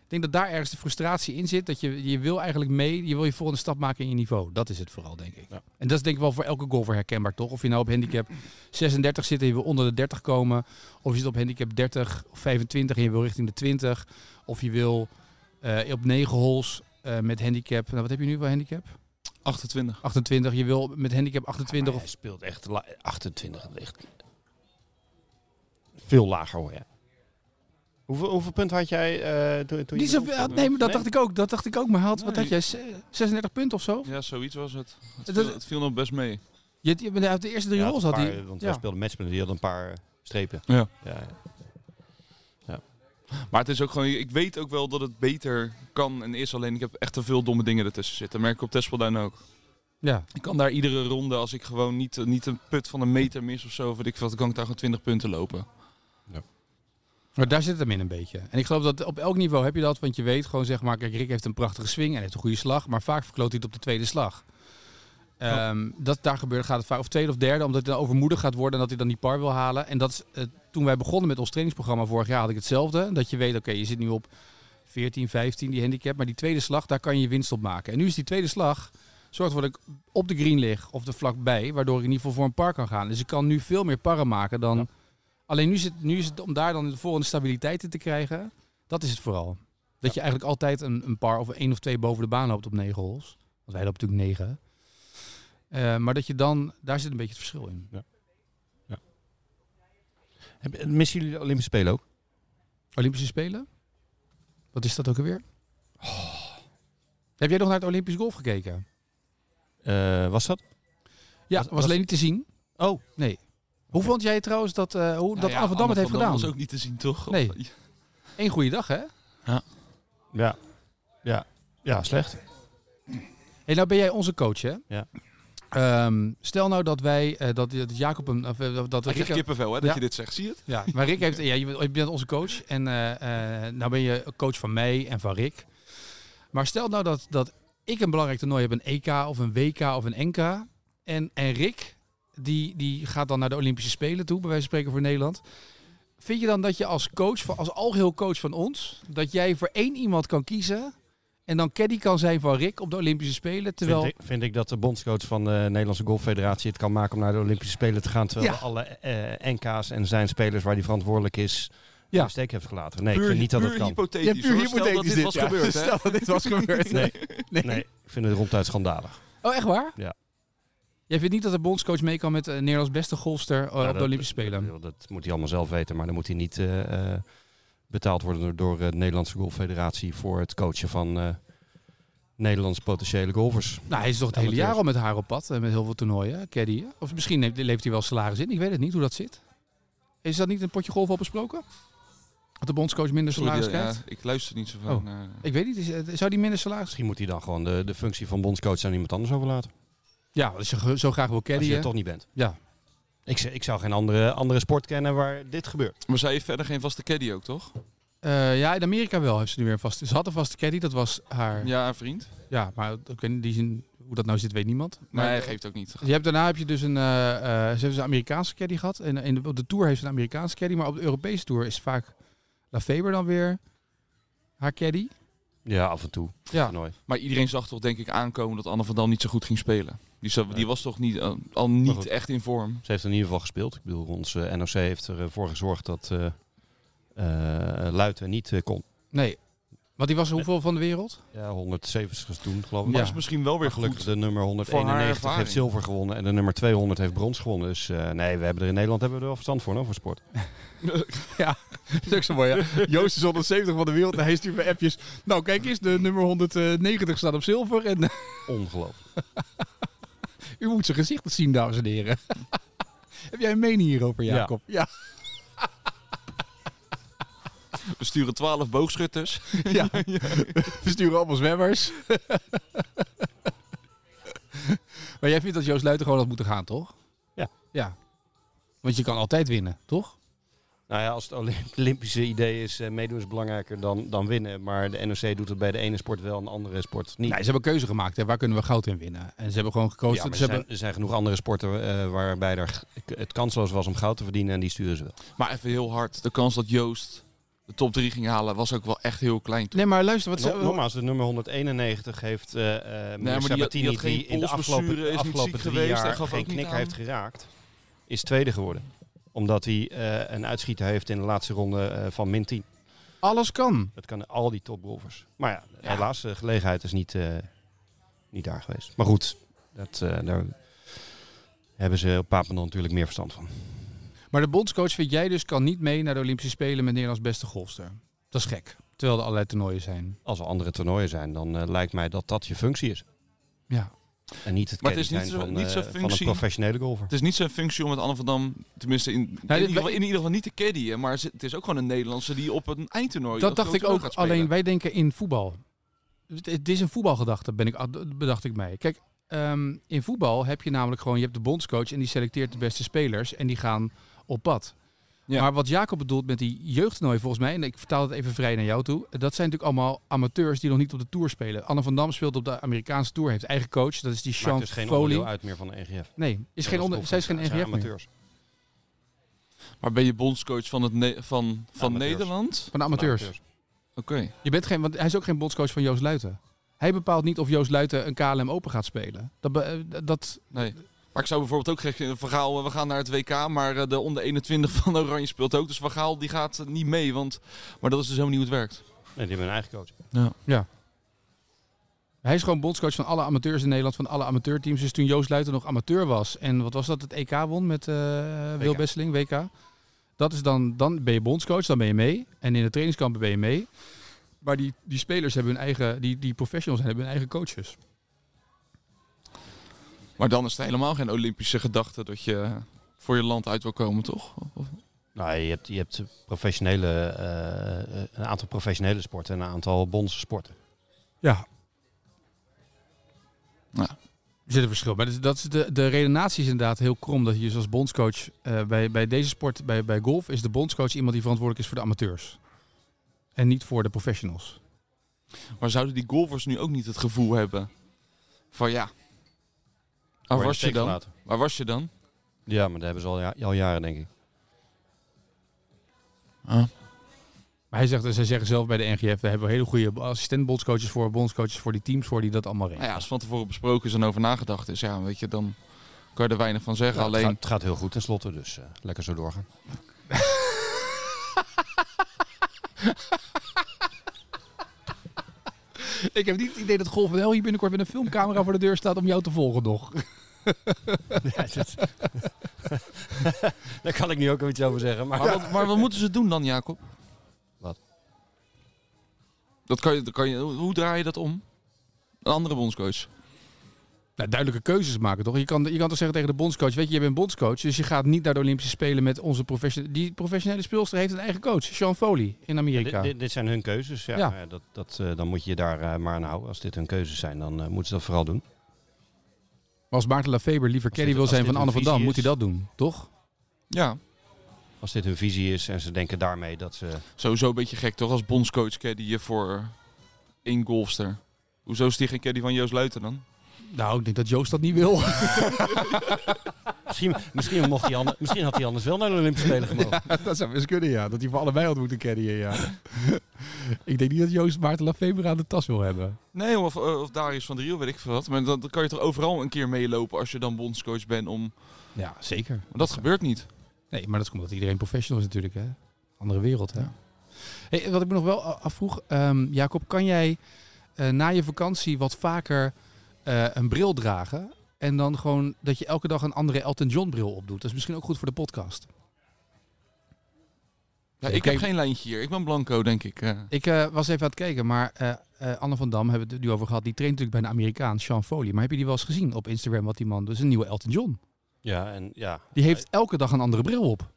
denk dat daar ergens de frustratie in zit. Dat je, je wil eigenlijk mee, je wil je volgende stap maken in je niveau. Dat is het vooral, denk ik. Ja. En dat is denk ik wel voor elke golfer herkenbaar, toch? Of je nou op handicap 36 zit en je wil onder de 30 komen. Of je zit op handicap 30 of 25 en je wil richting de 20. Of je wil eh, op 9 holes eh, met handicap, nou wat heb je nu voor handicap? 28. 28, je wil met handicap 28 Hij of... speelt echt la- 28. Echt veel lager hoor, ja. Hoeveel, hoeveel punt had jij eh, toen, toen Niet je... zoveel, nee, maar dat dacht ik ook. Dat dacht ik ook. Maar hij had, wat Nee. had jij, ze- 36 punten of zo? Ja, zoiets was het. Het Dat- viel, het viel nog best mee. Je, je, bent uit de eerste drie Ja, holes had had een paar, hij... Want ja. wij speelden matchman, die had een paar eh, strepen. Ja. ja, ja. Maar het is ook gewoon, ik weet ook wel dat het beter kan en is. Alleen ik heb echt te veel domme dingen ertussen zitten. Dat merk ik op Tespelduin ook. Ja. Ik kan daar iedere ronde, als ik gewoon niet, eh, niet een put van een meter mis of zo, of weet ik veel, dan kan ik daar gewoon 20 punten lopen. Maar daar zit het hem in een beetje. En ik geloof dat op elk niveau heb je dat. Want je weet gewoon, zeg maar, kijk, Rick heeft een prachtige swing en heeft een goede slag. Maar vaak verkloot hij het op de tweede slag. Ehm, dat daar gebeurt, gaat het vaak. Of tweede of derde, omdat hij dan overmoedig gaat worden en dat hij dan die par wil halen. En dat is, eh, toen wij begonnen met ons trainingsprogramma vorig jaar had ik hetzelfde. Dat je weet, oké, je zit nu op 14, 15, die handicap. Maar die tweede slag, daar kan je winst op maken. En nu is die tweede slag, zorgt ervoor dat ik op de green lig of er vlakbij. Waardoor ik in ieder geval voor een par kan gaan. Dus ik kan nu veel meer parren maken dan... Alleen nu, zit, nu is het om daar dan de volgende stabiliteit in te krijgen. Dat is het vooral. Dat je eigenlijk altijd een, een par of één of twee boven de baan loopt op negen holes. Want wij lopen natuurlijk negen. Eh, maar dat je dan, daar zit een beetje het verschil in. Heb- Missen jullie de Olympische Spelen ook? Olympische Spelen? Wat is dat ook alweer? Heb jij nog naar het Olympisch golf gekeken? Eh, was dat? Was- Ja, was, was- alleen niet te zien. Oh. Nee. Hoe vond jij trouwens dat, eh hoe, dat Anne van Dam het heeft gedaan? Dat was ook niet te zien, toch? Nee. Of- Eén goede dag, hè? Ja. Ja. Ja, slecht. Hey, nou ben jij onze coach, hè? Ja. Ehm, stel nou dat wij, eh, dat, dat Jacob hem, of, eh, dat Ik Rick, krijg kippenvel, hè, dat Ja. je dit zegt. Zie je het? ja, maar Rick heeft, ja, je bent, je bent onze coach en eh, eh, nou ben je coach van mij en van Rick. Maar stel nou dat, dat ik een belangrijk toernooi heb, een EK of een WK of een NK. En, en Rick, die, die gaat dan naar de Olympische Spelen toe, bij wijze van spreken voor Nederland. Vind je dan dat je als coach, van- als algeheel coach van ons, dat jij voor één iemand kan kiezen en dan caddy kan zijn van Rick op de Olympische Spelen, terwijl... Vind, ik, vind ik dat de bondscoach van de Nederlandse Golffederatie het kan maken om naar de Olympische Spelen te gaan. Terwijl Ja. alle eh, NK's en zijn spelers waar hij verantwoordelijk is, Ja. ja. steek heeft gelaten. Nee, ik vind niet dat puur het kan. hypothetisch. hoor. [laughs] Stel dat dit was gebeurd. was gebeurd. Nee. [laughs] Nee. Nee, ik vind het ronduit schandalig. Oh, echt waar? Ja. Jij vindt niet dat de bondscoach mee kan met eh, Nederlands beste golfster eh, Ja, op Nou, dat- de Olympische Spelen? Dat, dat moet hij allemaal zelf weten, maar dan moet hij niet eh, eh, betaald worden door, door de Nederlandse Golffederatie voor het coachen van eh Nederlandse potentiële golfers. Nou, hij is toch het hele Amateurs. jaar al met haar op pad en met heel veel toernooien, eh, caddy. hè? Of misschien neemt- leeft hij wel salaris in, ik weet het niet hoe dat zit. Is dat niet in een potje golf al besproken? Dat de bondscoach minder Sorry, salaris ja, krijgt? ik luister niet zo van. Oh. Ik weet niet, is, eh, zou die minder salaris... Misschien moet hij dan gewoon de, de functie van bondscoach aan iemand anders overlaten. Ja, als je ge- zo graag wil Als caddyen. je er toch niet bent. Ja. Ik, z- ik zou geen andere, andere sport kennen waar dit gebeurt. Maar zij heeft verder geen vaste caddy ook, toch? Eh, ja, in Amerika wel heeft ze nu weer een vaste... Ze had een vaste caddy, dat was haar... Ja, Ja, haar vriend. maar ook in die zin, hoe dat nou zit, weet niemand. Maar Maar hij geeft ook niet. Je hebt, daarna heb je dus een, eh, eh, ze hebben dus een Amerikaanse caddy gehad. En eh, in de, op de Tour heeft ze een Amerikaanse caddy. Maar op de Europese Tour is vaak Lafeber dan weer haar caddy. Ja, af en toe. Ja. Toernooi. Maar iedereen zag toch denk ik aankomen dat Anne van Dam niet zo goed ging spelen. Die, zou- Nee. die was toch niet, eh, al Maar goed. niet echt in vorm. Ze heeft in ieder geval gespeeld. Ik bedoel, ons eh, NOC heeft ervoor gezorgd dat eh eh, Luiten niet eh, kon. Nee. Want die was hoeveel van de wereld? Ja, 170 is toen, geloof ik. Maar Ja. is misschien wel weer Gelukkig gelukkig. de nummer Voor haar 191 ervaring. heeft zilver gewonnen en de nummer 200 heeft brons gewonnen. Dus eh, nee, we hebben er in Nederland hebben we er wel verstand voor, no, voor sport. [laughs] Dat is ook zo mooi, ja. Joost is 170 van de wereld. En hij stuurt me appjes. Nou, kijk eens, de nummer 190 staat op zilver. En eh, Ongelooflijk. u moet zijn gezicht eens zien, dames en heren. [laughs] Heb jij een mening hierover, Ja. Jacob? Ja. We sturen 12 boogschutters. Ja, we sturen allemaal zwemmers. maar jij vindt dat Joost Luiten gewoon had moeten gaan, toch? Ja. Ja. Want je kan altijd winnen, toch? Nou ja, als het Olymp- [laughs] Olympische idee is, eh, meedoen is belangrijker dan, dan winnen. Maar de NOC doet het bij de ene sport wel en de andere sport niet. Nee, ze hebben keuze gemaakt. Hè. Waar kunnen we goud in winnen? En ze hebben gewoon Ja, gekozen. maar er, ze hebben... zijn, er zijn genoeg andere sporten eh, waarbij er g- het kansloos was om goud te verdienen en die sturen ze wel. Maar even heel hard. De kans dat Joost de top 3 ging halen was ook wel echt heel klein. Toen. Nee, maar luister, wat ze... Nog- nogmaals, de nummer 191 heeft eh eh meneer maar die had- die Sabatini, had geen die in de polsblessure, afgelopen, is niet afgelopen ziek drie geweest, hij jaar gaf geen ook niet knik aan. heeft geraakt, is tweede geworden. Omdat hij eh, een uitschieter heeft in de laatste ronde eh, van min 10. Alles kan. Dat kan al die topgolfers. Maar ja, helaas, de gelegenheid is niet, eh, niet daar geweest. Maar goed, dat, eh, daar hebben ze op Papendal natuurlijk meer verstand van. Maar de bondscoach vind jij dus kan niet mee naar de Olympische Spelen met Nederlands beste golfster. Dat is gek. Terwijl er allerlei toernooien zijn. Als er andere toernooien zijn, dan eh, lijkt mij dat dat je functie is. Ja. En niet het maar Maar het is zijn niet zo- van, niet eh, zo'n van een functie. professionele golfer. Het is niet zijn functie om met Anne van Dam, tenminste in, in, dit- ieder, geval, in ieder geval niet te caddyen. Maar ze- het is ook gewoon een Nederlandse die op een eindtoernooi Dat een dacht groot ik toernooi ook. gaat spelen. Alleen wij denken in voetbal. Het- Het is een voetbalgedachte, ben ik, bedacht ik mij. Kijk, ehm, in voetbal heb je namelijk gewoon, je hebt de bondscoach en die selecteert de beste spelers en die gaan op pad. Ja. Maar wat Jacob bedoelt met die jeugdtoernooi volgens mij, en ik vertaal het even vrij naar jou toe, dat zijn natuurlijk allemaal amateurs die nog niet op de tour spelen. Anne van Dam speelt op de Amerikaanse tour, heeft eigen coach, dat is die Maakt Sean dus geen Foley. onderdeel uit meer van de NGF. Nee, is Ja, geen dat onder, klopt. zij is geen Het zijn NGF meer. amateurs. Maar ben je bondscoach van, het ne- van, van Amateurs. Nederland? Van de amateurs. Oké. Je bent geen, want hij is ook geen bondscoach van Joost Luiten. Hij bepaalt niet of Joost Luiten een KLM Open gaat spelen. Dat, be- eh, dat Nee. Maar ik zou bijvoorbeeld ook zeggen, Van Gaal, eh, we gaan naar het WK, maar eh, de onder 21 van Oranje speelt ook. Dus Van Gaal die gaat eh, niet mee, want... Maar dat is dus helemaal niet hoe het werkt. Nee, die hebben een eigen coach. Hij is gewoon bondscoach van alle amateurs in Nederland, van alle amateurteams. Dus toen Joost Luiten nog amateur was en wat was dat, het EK won met eh Wil WK. Besseling, WK. Dat is dan, dan ben je bondscoach, dan ben je mee. En in de trainingskampen ben je mee. Maar die, die spelers hebben hun eigen, die, die professionals hebben hun eigen coaches. Maar dan is het helemaal geen Olympische gedachte dat je voor je land uit wil komen, toch? Of- Nou, je hebt, je hebt professionele, eh, eh, een aantal professionele sporten en een aantal bondse sporten. Ja. Ja. Er zit een verschil. Maar dat is- dat is de, de redenatie is inderdaad heel krom. Dat je dus als bondscoach eh, bij, bij deze sport, bij, bij golf, is de bondscoach iemand die verantwoordelijk is voor de amateurs. En niet voor de professionals. Maar zouden die golfers nu ook niet het gevoel hebben van ja... Waar Word was je dan? teruggelaten. Waar was je dan? Ja, maar dat hebben ze al, ja- al jaren, denk ik. Maar hij zegt, zij zeggen zelf bij de NGF, we hebben hele goede assistent-bondscoaches voor, bondscoaches voor die teams voor die dat allemaal Nou regelen. ja, als van tevoren besproken is en over nagedacht is, ja, weet je, dan kan je er weinig van zeggen. Ja, het, gaat, Alleen, het gaat heel goed tenslotte, dus eh, lekker zo doorgaan. Ik heb niet het idee dat Golf wel hier binnenkort met een filmcamera voor de deur staat om jou te volgen nog. Ja, dat- Daar kan ik nu ook wel iets over zeggen. Maar Maar, wat, maar wat moeten ze doen dan, Jacob? Wat? Dat kan je, dat kan je, hoe hoe draai je dat om? Een andere bondscoach. Nou, duidelijke keuzes maken toch? Je kan, je kan toch zeggen tegen de bondscoach, weet je, je bent bondscoach, dus je gaat niet naar de Olympische Spelen met onze professionele... Die professionele speelster heeft een eigen coach, Sean Foley, in Amerika. dit, dit- dit zijn hun keuzes. Ja. Ja. Maar ja, dat, dat, eh, dan moet je je daar eh, maar aan houden. Als dit hun keuzes zijn, dan eh, moeten ze dat vooral doen. Maar als Maarten Lafeber liever Als caddy dit- wil als zijn dit van Anne een van Dam, visie moet hij is. dat doen, toch? Ja, Als dit hun visie is en ze denken daarmee dat ze... sowieso een beetje gek toch als bondscoach caddy je voor één golfster. Hoezo is die geen caddy van Joost Luiten dan? Nou, ik denk dat Joost dat niet wil. [laughs] [laughs] Misschien, misschien, mocht hij ander- misschien had hij anders wel naar de Olympische [laughs] Spelen gemogen. dat zou best kunnen, ja. Dat hij voor allebei had moeten caddyen, [laughs] ja. ik denk niet dat Joost Maarten Lafeber aan de tas wil hebben. Nee, of, eh, of Darius van der Riel, weet ik veel wat. Maar dan, dan kan je toch overal een keer meelopen als je dan bondscoach bent om... Maar Ja, zeker. dat gebeurt niet. Nee, maar dat komt omdat iedereen professional is natuurlijk, hè. Andere wereld, hè. Hey, wat ik me nog wel a- afvroeg, ehm, Jacob, kan jij eh, na je vakantie wat vaker eh, een bril dragen? En dan gewoon dat je elke dag een andere Elton John bril opdoet. Dat is misschien ook goed voor de podcast. Ja, Nee, ik kijk- heb geen lijntje hier. Ik ben blanco, denk ik. eh. Ik eh, was even aan het kijken, maar eh, eh, Anne van Dam hebben we het nu over gehad. Die traint natuurlijk bij een Amerikaan, Sean Foley. Maar heb je die wel eens gezien op Instagram wat die man doet? Dat is een nieuwe Elton John. Ja, en ja. Die heeft elke dag een andere bril op.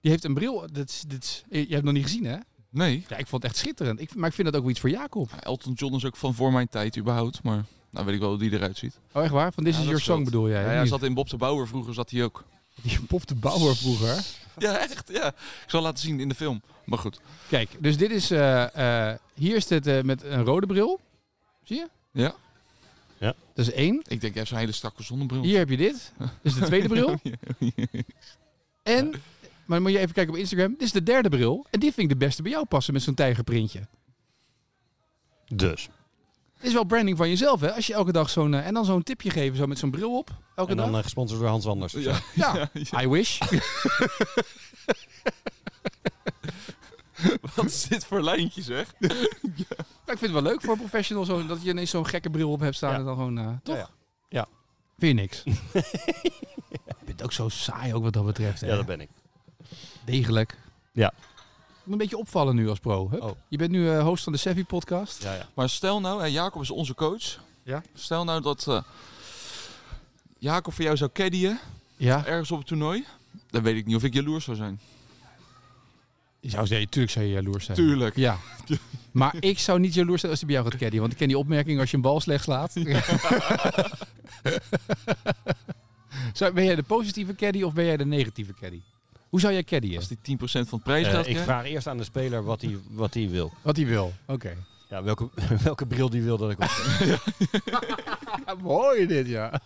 Die heeft een bril. Dit, is- dit, is- je hebt het nog niet gezien, hè? Nee. Ja, ik vond het echt schitterend. Ik, maar ik vind dat ook wel iets voor Jacob. Ja, Elton John is ook van voor mijn tijd überhaupt, maar nou weet ik wel hoe die eruit ziet. Oh, echt waar? Van This Ja, dat is Your Song scheelt. bedoel jij? Ja, of hij niet? zat in Bob de Bauer vroeger, zat hij ook. [laughs] Die Bob de Bauer vroeger. [laughs] Ja, echt, ja. Ik zal laten zien in de film. Maar goed. Kijk, dus dit is... eh, eh, hier zit het met een rode bril. Zie je? Ja. Ja. Dat is één. Ik denk, hij heeft zo'n hele strakke zonnebril. Hier heb je dit. Dat is de tweede bril. En, maar dan moet je even kijken op Instagram. Dit is de derde bril. En die vind ik de beste bij jou passen met zo'n tijgerprintje. Dus. Dit is wel branding van jezelf, hè? Als je elke dag zo'n... eh, en dan zo'n tipje geven, zo met zo'n bril op. Elke En dan dag. eh, gesponsord door Hans Anders. of zo. [laughs] Ja. [laughs] ja. Ja, I wish. [laughs] wat is dit voor lijntje zeg? Maar ik vind het wel leuk voor een professional zo, dat je ineens zo'n gekke bril op hebt staan Ja. en dan gewoon... eh, toch? Ja, ja. Ja. Vind je [laughs] niks? je bent ook zo saai ook wat dat betreft. Hè? Ja, dat ben ik. Degelijk. Ja. Je moet een beetje opvallen nu als pro. Hup. Oh. Je bent nu eh, host van de Sevi podcast. Ja, ja. Maar stel nou, en Jacob is onze coach. Ja. Stel nou dat eh, Jacob voor jou zou caddyen, Ja. ergens op het toernooi. Dan weet ik niet of ik jaloers zou zijn. Je zou zeggen, tuurlijk zou je jaloers zijn. Tuurlijk. Ja. [laughs] Maar ik zou niet jaloers zijn als hij bij jou gaat caddyen. Want ik ken die opmerking als je een bal slecht slaat. [laughs] Zou- ben jij de positieve caddy of ben jij de negatieve caddy? Hoe zou jij caddyen? Als die 10% van het prijsgeld Eh, ik krijgt. vraag eerst aan de speler wat hij wat hij wil. Wat hij wil. Oké. [laughs] Ja, welke, [laughs] welke bril die wil dat ik op. mooi dit, ja.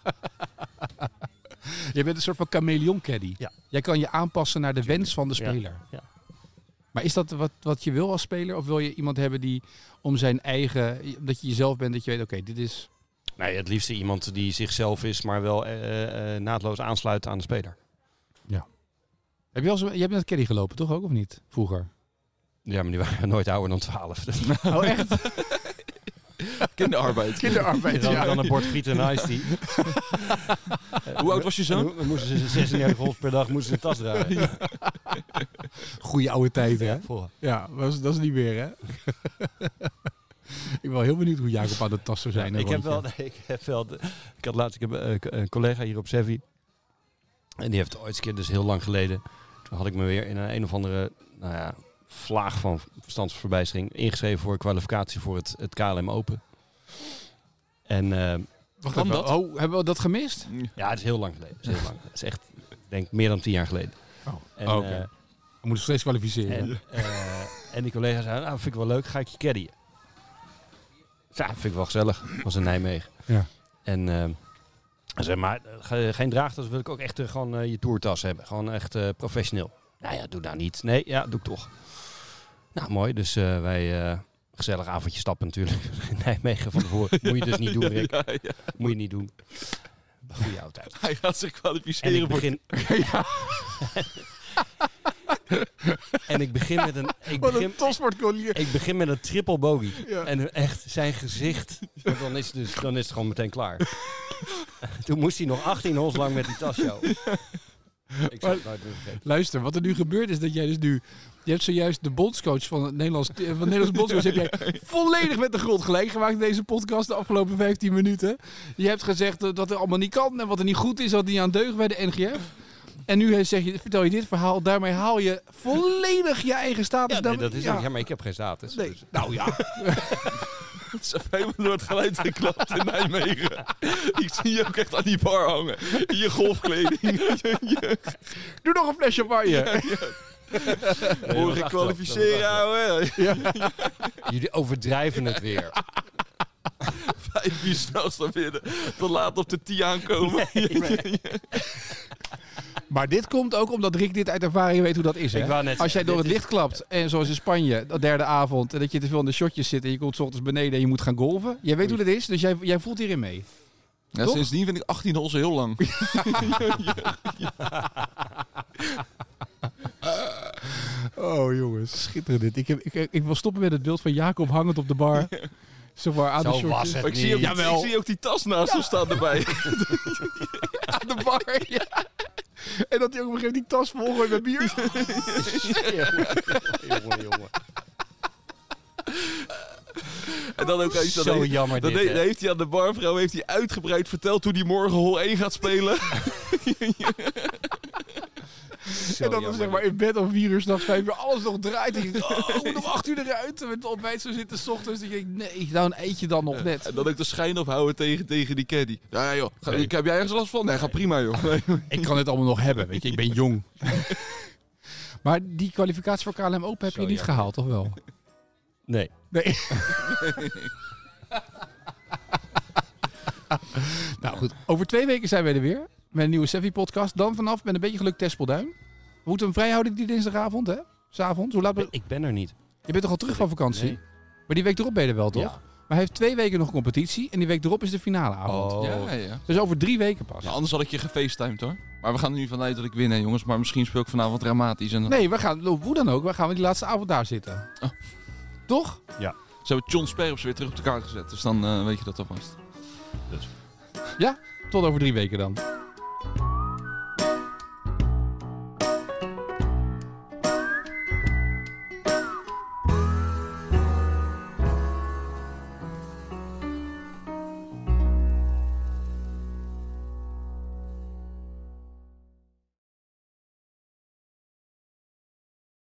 [laughs] je bent een soort van chameleon caddy. Ja. Jij kan je aanpassen naar de wens van de Ja. speler. Ja. Maar is dat wat, wat je wil als speler? Of wil je iemand hebben die om zijn eigen... Dat je jezelf bent, dat je weet, oké, dit is... Nee, het liefste iemand die zichzelf is, maar wel eh, eh, naadloos aansluit aan de speler. Heb je, wel eens, je hebt net caddy gelopen, toch ook, of niet? Vroeger. Ja, maar die waren [laughs] nooit ouder dan 12. Dus [laughs] Oh, echt? [laughs] Kinderarbeid. Kinderarbeid, dan, dan een bord friet en ijs [laughs] die. Hoe oud was je zoon? Dan moesten ze 36 golf per dag moesten ze een tas dragen. Goeie oude tijd, hè? Voor. Ja, dat is, dat is niet meer, hè? [laughs] ik ben wel heel benieuwd hoe Jacob aan de tas zou zijn. ik, heb wel, nee, ik heb wel. de- Ik had laatst ik heb, eh, k- een collega hier op Sevi. En die heeft ooit eens een keer, dus heel lang geleden. Toen had ik me weer in een, een of andere nou ja, vlaag van verstandsverbijstering ingeschreven voor kwalificatie voor het, het KLM Open. En eh, Wacht Kan even, dat? Oh, hebben we dat gemist? ja, het is heel lang geleden. Het is, heel lang. Het is echt, ik denk meer dan tien jaar geleden. Oh, En, oké. eh, We moeten steeds kwalificeren. En, eh, en die collega zei, nou vind ik wel leuk, ga ik je caddyen. Ik zei, Ja, vind ik wel gezellig. was in Nijmegen. Ja. En eh, hij zei, maar eh, ge- geen draagtas wil ik ook echt eh, gewoon eh, je toertas hebben. Gewoon echt eh, professioneel. Nou ja, doe daar niet. Nee, ja, doe ik toch. Nou, mooi. Dus eh, wij... eh, gezellig avondje stappen natuurlijk. [laughs] In Nijmegen van tevoren. Moet je dus niet doen, Rick. Ja, ja. Moet je niet doen. Goeie oud uit. Hij gaat zich En ik [laughs] kwalificeren voor begin... En ik begin met een... Ik Wat een begin, topsportcourier. ik begin met een triple bogey. Ja. En echt zijn gezicht. want Dan is, het dus, dan is het gewoon meteen klaar. [laughs] Toen moest hij nog 18 hols lang met die tas show. Ik zou het nooit meer vergeten. Luister, wat er nu gebeurt is dat jij dus nu... Je hebt zojuist de bondscoach van het Nederlands, eh, van het Nederlands bondscoach... heb [laughs] jij volledig met de grond gelijk gemaakt in deze podcast de afgelopen 15 minuten. Je hebt gezegd eh, dat er allemaal niet kan en wat er niet goed is... dat niet aan deugen bij de NGF. En nu eh, zeg je, vertel je dit verhaal, daarmee haal je volledig je eigen status. Ja, nee, daarmee- dat is Dus ja. ook, ja, maar ik heb geen status. Nee. Dus. Nou ja. Het is even helemaal door het geluid geklapt in Nijmegen. Ik zie je ook echt aan die bar hangen. In je [laughs] golfkleding. Je- je- Doe nog een fles champagne. Nee, dat was Hoor ik achteraf. kwalificeren, Dat was ouwe. [laughs] achteraf. Jullie overdrijven het [laughs] weer. Vijf uur s'nachts naar binnen. Te laat op de tee aankomen. Maar dit komt ook omdat Rick dit uit ervaring weet hoe dat is. Hè? Ik wou net Als jij zeggen, door het dit licht klapt, en zoals in Spanje, de derde avond, en dat je te veel in de shotjes zit en je komt 's ochtends beneden en je moet gaan golven. Jij weet hoe dat is, dus jij, jij voelt hierin mee. Ja, Toch? sindsdien vind ik 18 hols heel lang. Oh jongens, schitterend dit. Ik, heb, ik, ik wil stoppen met het beeld van Jacob hangend op de [laughs] bar. Zomaar aan de Zo shortjes. was het Maar ik zie, ook, niet. ik zie ook die tas naast hem staan [laughs] erbij. Aan de bar, ja. En dat hij ook op een gegeven moment die tas volgooit met bier. jongen, jongen. En dan ook iets dat Zo heeft- jammer Dan dit, he- hè? heeft hij aan de barvrouw heeft hij uitgebreid verteld hoe hij morgen hol 1 gaat spelen. Zo En dat dan Oh, jammer zeg maar dit. in bed om vier uur s'nachts, vijf uur, alles nog draait. En je denkt, oh, ik moet om acht uur eruit. En met het ontbijt zo zitten, s ochtends. Dat je denkt, nee, dan eet je dan nog net. En dan ook de schijn ophouden tegen, tegen die caddy. Ja, ja, joh. Ga, Nee. ik- Heb jij ergens last van? Nee, ga prima, joh. Nee. Ik kan het allemaal nog hebben, weet je, ik ben jong. maar die kwalificatie voor KLM Open heb Zo, je niet ja. gehaald, toch [laughs] wel? Nee. Nee. nou goed, over twee weken zijn wij er weer met een nieuwe Sevi-podcast. Dan vanaf met een beetje geluk Tespelduin. We moeten hem vrijhouden die dinsdagavond, hè? S'avonds, hoe laat... ben- Ik ben er niet. Je bent toch al terug van vakantie? Nee. Maar die week erop ben je er wel, toch? Ja. Maar hij heeft twee weken nog competitie en die week erop is de finaleavond. Oh. Ja, ja. Dus over drie weken pas. Nou, anders had ik je gefacetimed hoor. Maar we gaan er nu vanuit dat ik win, hè, jongens. Maar misschien speel ik vanavond dramatisch. En dan Nee, we gaan, hoe dan ook, we gaan we die laatste avond daar zitten. Oh. Toch? Ze hebben John Sperps weer terug op de kaart gezet. Dus dan eh, weet je dat alvast. Tot over drie weken dan.